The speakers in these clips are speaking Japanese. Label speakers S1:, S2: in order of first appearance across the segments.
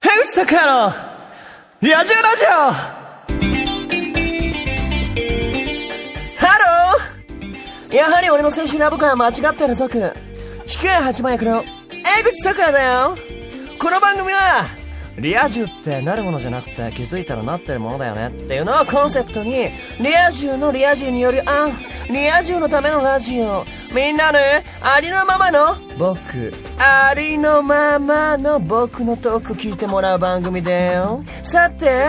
S1: 竹内拓也のラジオラジオハローやはり俺の青春ラブ感は間違ってる族低い八幡役の江口拓也だよこの番組はリア充ってなるものじゃなくて気づいたらなってるものだよねっていうのをコンセプトにリア充のリア充によるあリア充のためのラジオみんなねありのままの僕ありのままの僕のトーク聞いてもらう番組だよさて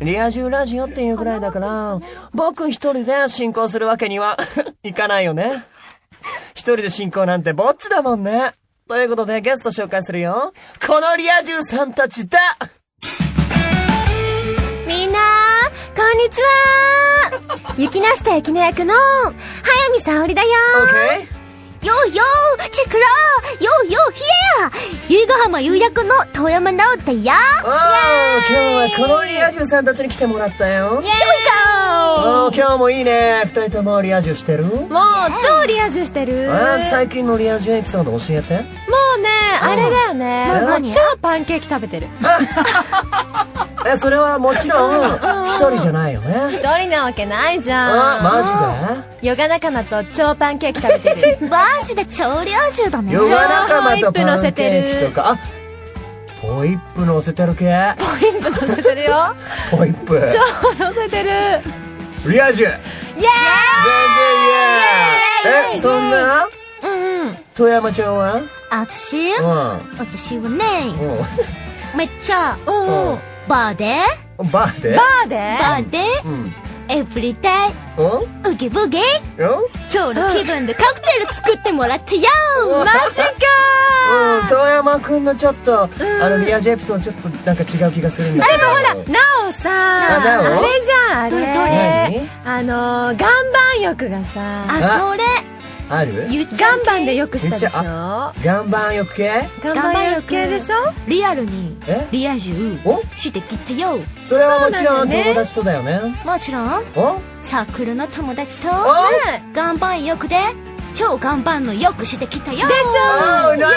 S1: リア充ラジオっていうぐらいだから、僕一人で進行するわけには いかないよね。一人で進行なんてぼっちだもんね。ということでゲスト紹介するよ。このリア充さんたちだ
S2: みんなこんにち は雪なした雪の役の早見沙織だよ
S1: !OK?
S2: よーよーチェックラーよーよーヒエー由比ヶ浜夕役の遠山直太や
S1: おー今日はこのリア充さんたちに来てもらったよ。
S2: ひょいか
S1: おー今日もいいね。二人ともリア充してる
S3: もう超リア充してる
S1: あー最近のリア充エピソード教えて。
S3: もうねあれだよね
S2: 何
S3: 超パンケーキ食べてる
S1: え、それはもちろん、一人じゃないよね。
S3: 一人なわけないじゃ
S1: あ
S3: ん、
S1: マジで
S3: ヨガ仲間と超パンケーキ食べてる
S2: マジで超猟銃だね
S1: ヨガ仲間とパンケーキとかあホイップ乗せてる系
S3: 乗せてるよ
S1: ホイッ プ
S3: 超乗せてるイエ
S1: リア充全然イエー
S3: ーイ
S1: イえそんな
S2: うんうん
S1: 富山ちゃんは
S2: あたし
S1: う
S2: 私はね
S1: ん
S2: めっちゃ
S3: うん
S1: うん
S2: バーで
S1: うん バーで
S3: バーで
S2: バーで
S1: うん
S2: エブリデイ
S1: うん
S2: ウギブギ
S1: よ
S2: 今日の気分でカクテル作ってもらってよ
S1: マジかうん遠山くんのちょっとあのリア充エピソードちょっとなんか違う気がするんだけどでも
S3: なおさ
S1: あなお
S3: あれじゃんあれ
S2: どれど
S1: れ
S3: あのー岩盤浴がさ
S2: あそれ
S1: ほらある
S2: 言っちゃう
S3: 岩盤でよくしたでしょ
S1: めっちゃ岩盤浴系
S3: 岩盤浴系でしょ
S2: リアルに
S1: え
S2: リア充
S1: お
S2: してきてよ
S1: それはもちろ
S3: そうんなんだよね
S1: 友達とだよね
S2: もちろん
S1: お
S2: サークルの友達と
S1: お
S2: 岩盤浴で超岩盤の浴してきたよ
S3: でし
S1: あ
S3: ょ
S1: ーなんとな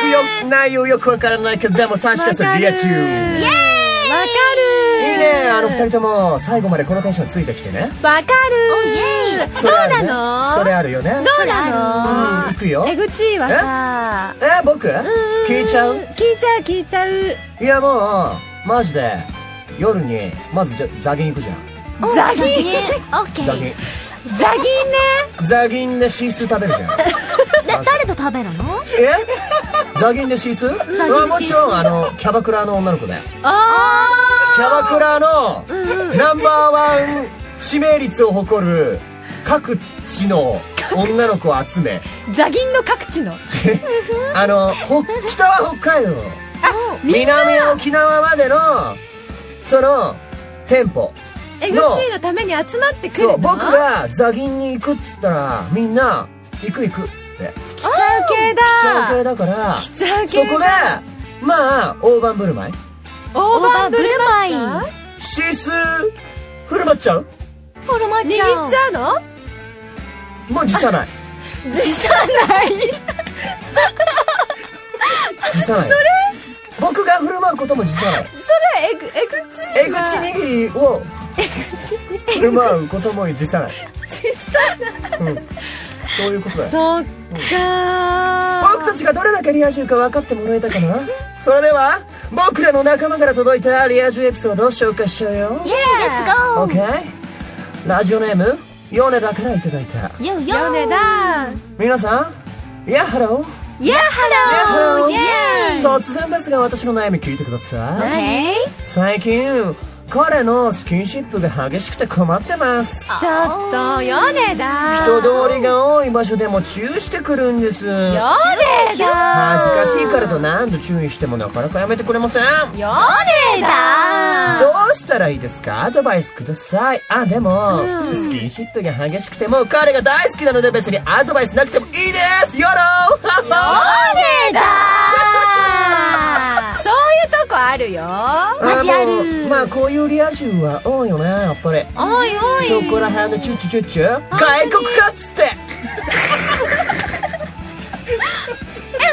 S1: くよ内容よくわからないけどでも確かにそれリア充い
S3: イエーイわかる
S1: いねあの二人とも最後までこのテンションついてきてね
S3: わかる
S2: イエーイ
S1: それあるね
S3: どうなの
S1: それあるよね
S3: どう
S1: うん
S3: なの
S1: 行くよ
S3: えぐちはさ
S1: えー僕聞いちゃう
S3: 聞いちゃう聞いちゃう
S1: いやもうマジで夜にまずじゃザギン行くじゃん
S3: ザギン
S2: オッケ
S1: ザ
S2: ー
S1: ギン
S2: で
S3: ザギンね
S1: ザギンでシースー食べるじ ゃん
S2: 誰と食べるの
S1: えザギンでシースー
S2: ース
S1: うんもちろんあのキャバクラの女の子だよ
S3: あ
S1: キャバクラのナンバーワン指名率を誇る各地の女の子を集め
S3: ーザギンの各地の
S1: あのほ北は北海道南は沖縄までのその店舗
S3: えぐちのために集まってくる
S1: そ
S3: の
S1: う僕がザギンに行くっつったらみんな行く行くっつって
S3: 来ちゃう系だ
S1: 来ちゃう系だから
S3: 来ちゃう系
S1: そこでまあ大盤振る舞い
S3: オーバーブルマ
S2: 大
S3: イ
S2: 盤ブルマ
S1: シースー振る舞っちゃう
S2: ホルマ
S3: 握っち
S2: ちゃん
S3: ゃうの
S1: もう辞さない
S3: 辞さない
S1: 辞さない僕が振る舞うことも辞さない
S3: それえぐえぐち
S1: 江口握りを振る舞うことも辞さない辞さない、うん、そういうことだよ
S3: そっかー
S1: 僕たちがどれだけリア充か分かってもらえたかなそれでは僕らの仲間から届いたリア充エピソードを紹介しちゃうよ
S2: イエーイレッツゴ
S1: OK ラジオネームヨネダからいただいた
S2: ーヨーヨー
S3: ヨネだ
S1: 皆さんヤッハローヤ
S3: ヤッ
S1: ッハ
S3: ハロ
S1: ロ
S3: ー
S1: ー
S3: イエーイ
S1: 突然ですが私の悩み聞いてください
S2: オッケー
S1: 最近彼のスキンシップが激しくて困ってます
S3: ちょっとヨネだ
S1: 人通りが多い場所でも注意してくるんです
S3: ヨ
S1: 恥
S3: ネだ
S1: ずかしいからと何度注意してもなかなかやめてくれません
S3: ヨネだ
S1: どうしたらいいですかアドバイスくださいあでも、スキンシップが激しくてもう彼が大好きなので別にアドバイスなくてもいいですよろ
S3: ヨネだそういうとこあるよ
S2: マジある
S1: まあこういうリア充は多いよねやっぱり
S3: おいおい
S1: そこら辺のチュッチュチュッチュ外国かっつって
S2: え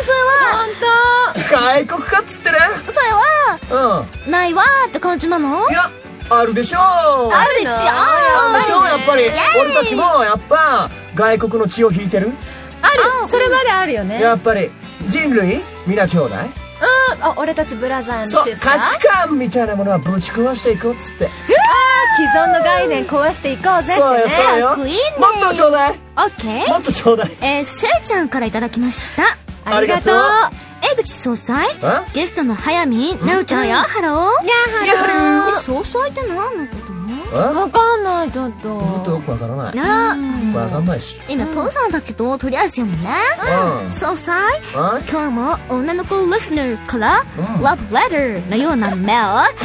S2: それは
S1: 外国かっつってね
S2: それは
S1: うん
S2: ないわーって感じなの
S1: いやあるでしょうあ
S2: あるでしょ
S1: るでしょうやっぱり
S2: イエーイ
S1: 俺たちもやっぱ外国の血を引いてる
S3: あるそれまであるよね
S1: やっぱり人類皆兄弟
S3: うんあ俺たちブラザーの
S1: そう価値観みたいなものはぶち壊していこうっつって
S3: 既存の概念壊していこうぜって
S1: そうよ
S3: ね
S1: そうよ
S2: かっこいいね
S1: もっとちょうだい
S2: オッケ
S1: も
S2: ー
S1: っとちょうだい
S2: えー、せいちゃんからいただきました
S3: ありがとう
S1: ありがとう
S2: 江口総裁
S1: え
S2: ゲストの早見奈緒ちゃんやハロー
S1: やは
S2: え総裁って何のことね
S1: りえ
S3: わかんないちょっと
S1: もっとよくわからない
S2: なあ
S1: わかんないし
S2: 今父さんだけどとりあえず読むね
S1: うん
S2: 総裁
S1: あ
S2: 今日も女の子リスナーから
S1: うん
S2: ラブレターのようなメー ル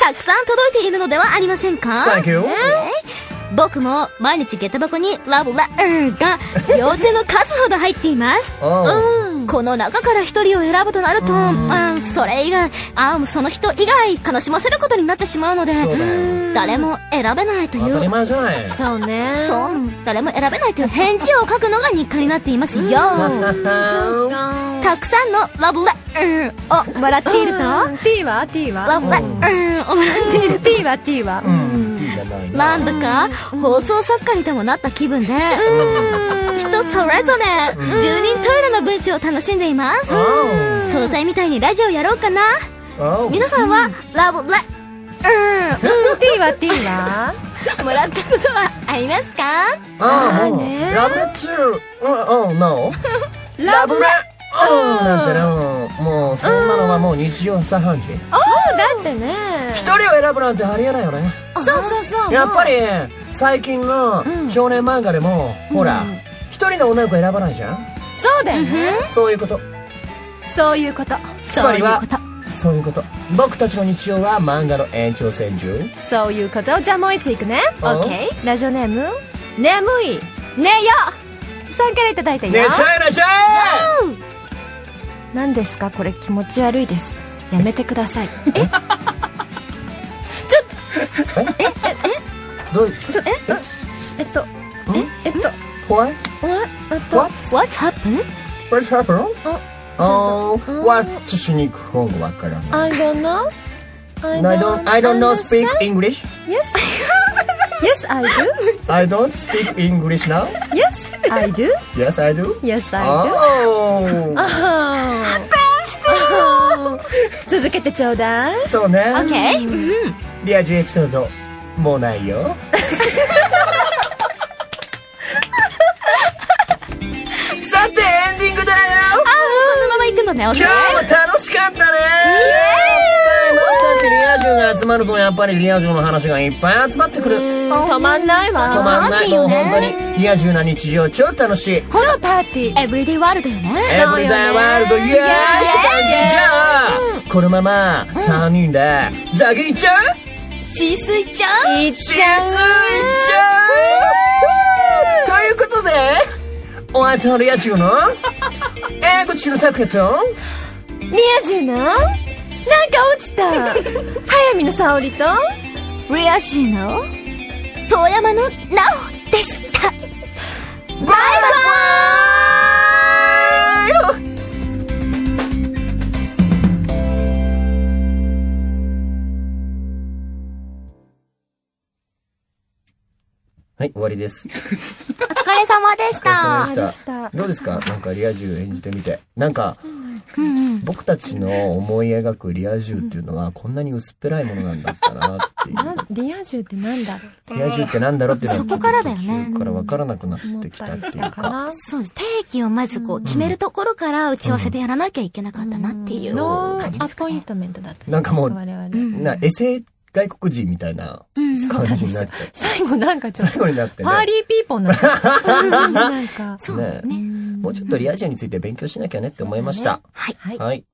S2: たくさん届いているのではありませんか
S1: Thank you
S2: ね僕も毎日下駄箱にラブレターが両手の数ほど入っています
S1: うん
S2: この中から一人を選ぶとなると、あそれ以外、あその人以外悲しませることになってしまうので
S1: そうだよ、
S2: 誰も選べないと
S1: 当
S2: い
S1: たり
S2: う、
S1: 前じゃない
S3: そうね
S2: そう、誰も選べないという返事を書くのが日課になっていますよ。
S1: うん
S2: たくさんのラブレターをもらっていると、ラ
S3: T は T は
S2: ブレターをもらっている
S3: T は T は
S1: いいじゃない
S2: と、なんだか放送作家にでもなった気分で、人それぞれ、10人トイレの文章を楽しんでいます。総裁みたいにラジオやろうかな。
S1: うん
S2: 皆さんは、ラブレタ
S3: T は T は
S2: ーをもらったことはありますか
S1: ああ、
S3: だ
S1: もう
S3: ね
S1: ラブレチュー、うん、うん、な おラブレうん、なんてな、もう、そんなのはもう日常茶飯事。
S3: だってね
S1: 一人を選ぶなんてありえないよね。
S3: そうそうそう
S1: やっぱり、最近の少年漫画でも、ほら、一人の女の子選ばないじゃん
S3: そうだよね
S1: そういうこと。
S3: そういうこと
S1: つまりは、そういうこと。僕たちの日常は漫画の延長線上。
S3: そういうことじゃあもう一ついくね
S1: うん
S3: OK ラジオネーム眠い寝よさんからいただいたよ
S1: 寝ちゃえ寝ちゃ
S3: 何ですかこれ気持ち悪いですやめてくださいえ
S1: えどういう、
S3: ちょえええっとええっと
S1: why?
S3: えっと
S1: What?
S2: What's happened?
S1: What's happened?
S3: あ
S1: あー、what しに行く方がわからない。
S3: I don't know I
S1: I don't, I don't know speak English.
S3: Yes Yes I do
S1: I don't speak English now.
S3: Yes I do
S1: Yes, I do.
S3: Yes I do
S1: Oh.
S3: あー続けてちょうだい
S1: そうね。
S2: Okay?
S1: リア充エピソード、もうないよ。さて、エンディングだよ
S2: あー、このまま行くのね、OK?
S1: 今日も楽しかったねイ僕たちリア充が集まるとやっぱりリア充の話がいっぱい集まってくる。止
S3: 止まんないわ
S1: まんない、もう本当に。リア充な日常超楽しい。
S3: 超パーティー
S2: エブリデイワールドよね。
S1: エブリダイワールドイエーイって感じじゃんこのまま3人でザギいっちゃう
S2: シースイちゃん
S3: いっ
S1: シースいっちゃうということでお相手はリア 充の江口の拓也と
S3: 宮地のなんか落ちた早見の沙織と
S2: リアジーの遠山のなおでした。
S1: バイバイはい、終わりです。
S2: お疲れ様でし
S1: お疲れ様
S2: た。
S1: でした。どうですかなんかリア充演じてみて。なんか、僕たちの思い描くリア充っていうのはこんなに薄っぺらいものなんだったなっていう。
S3: リア充ってなんだろ
S1: リア充ってなんだろうっていうの
S2: そこからだよね
S1: ちょっと途中から分からなくなってきたっていう
S3: うか
S1: か。
S3: な
S2: そうです。定義をまずこう決めるところから打ち合わせでやらなきゃいけなかったなっていう
S1: ノ
S3: ノ
S2: 感じ
S3: ー
S2: で
S3: ア
S2: すか
S3: ポイン
S2: ね。
S3: トメントだった
S1: なんかもう
S3: 我々
S2: ん
S1: な、エセ外国人みたいな
S2: うん。
S1: 感じになっちゃう。
S3: 最後なんかちょっ
S1: 最
S3: と
S1: 後になってね
S3: パ。ーリーピーポーになっちゃったなんか
S2: そう
S1: ね
S2: ね。
S1: もうちょっとリア充について勉強しなきゃねって思いました。
S2: はい。
S1: はい。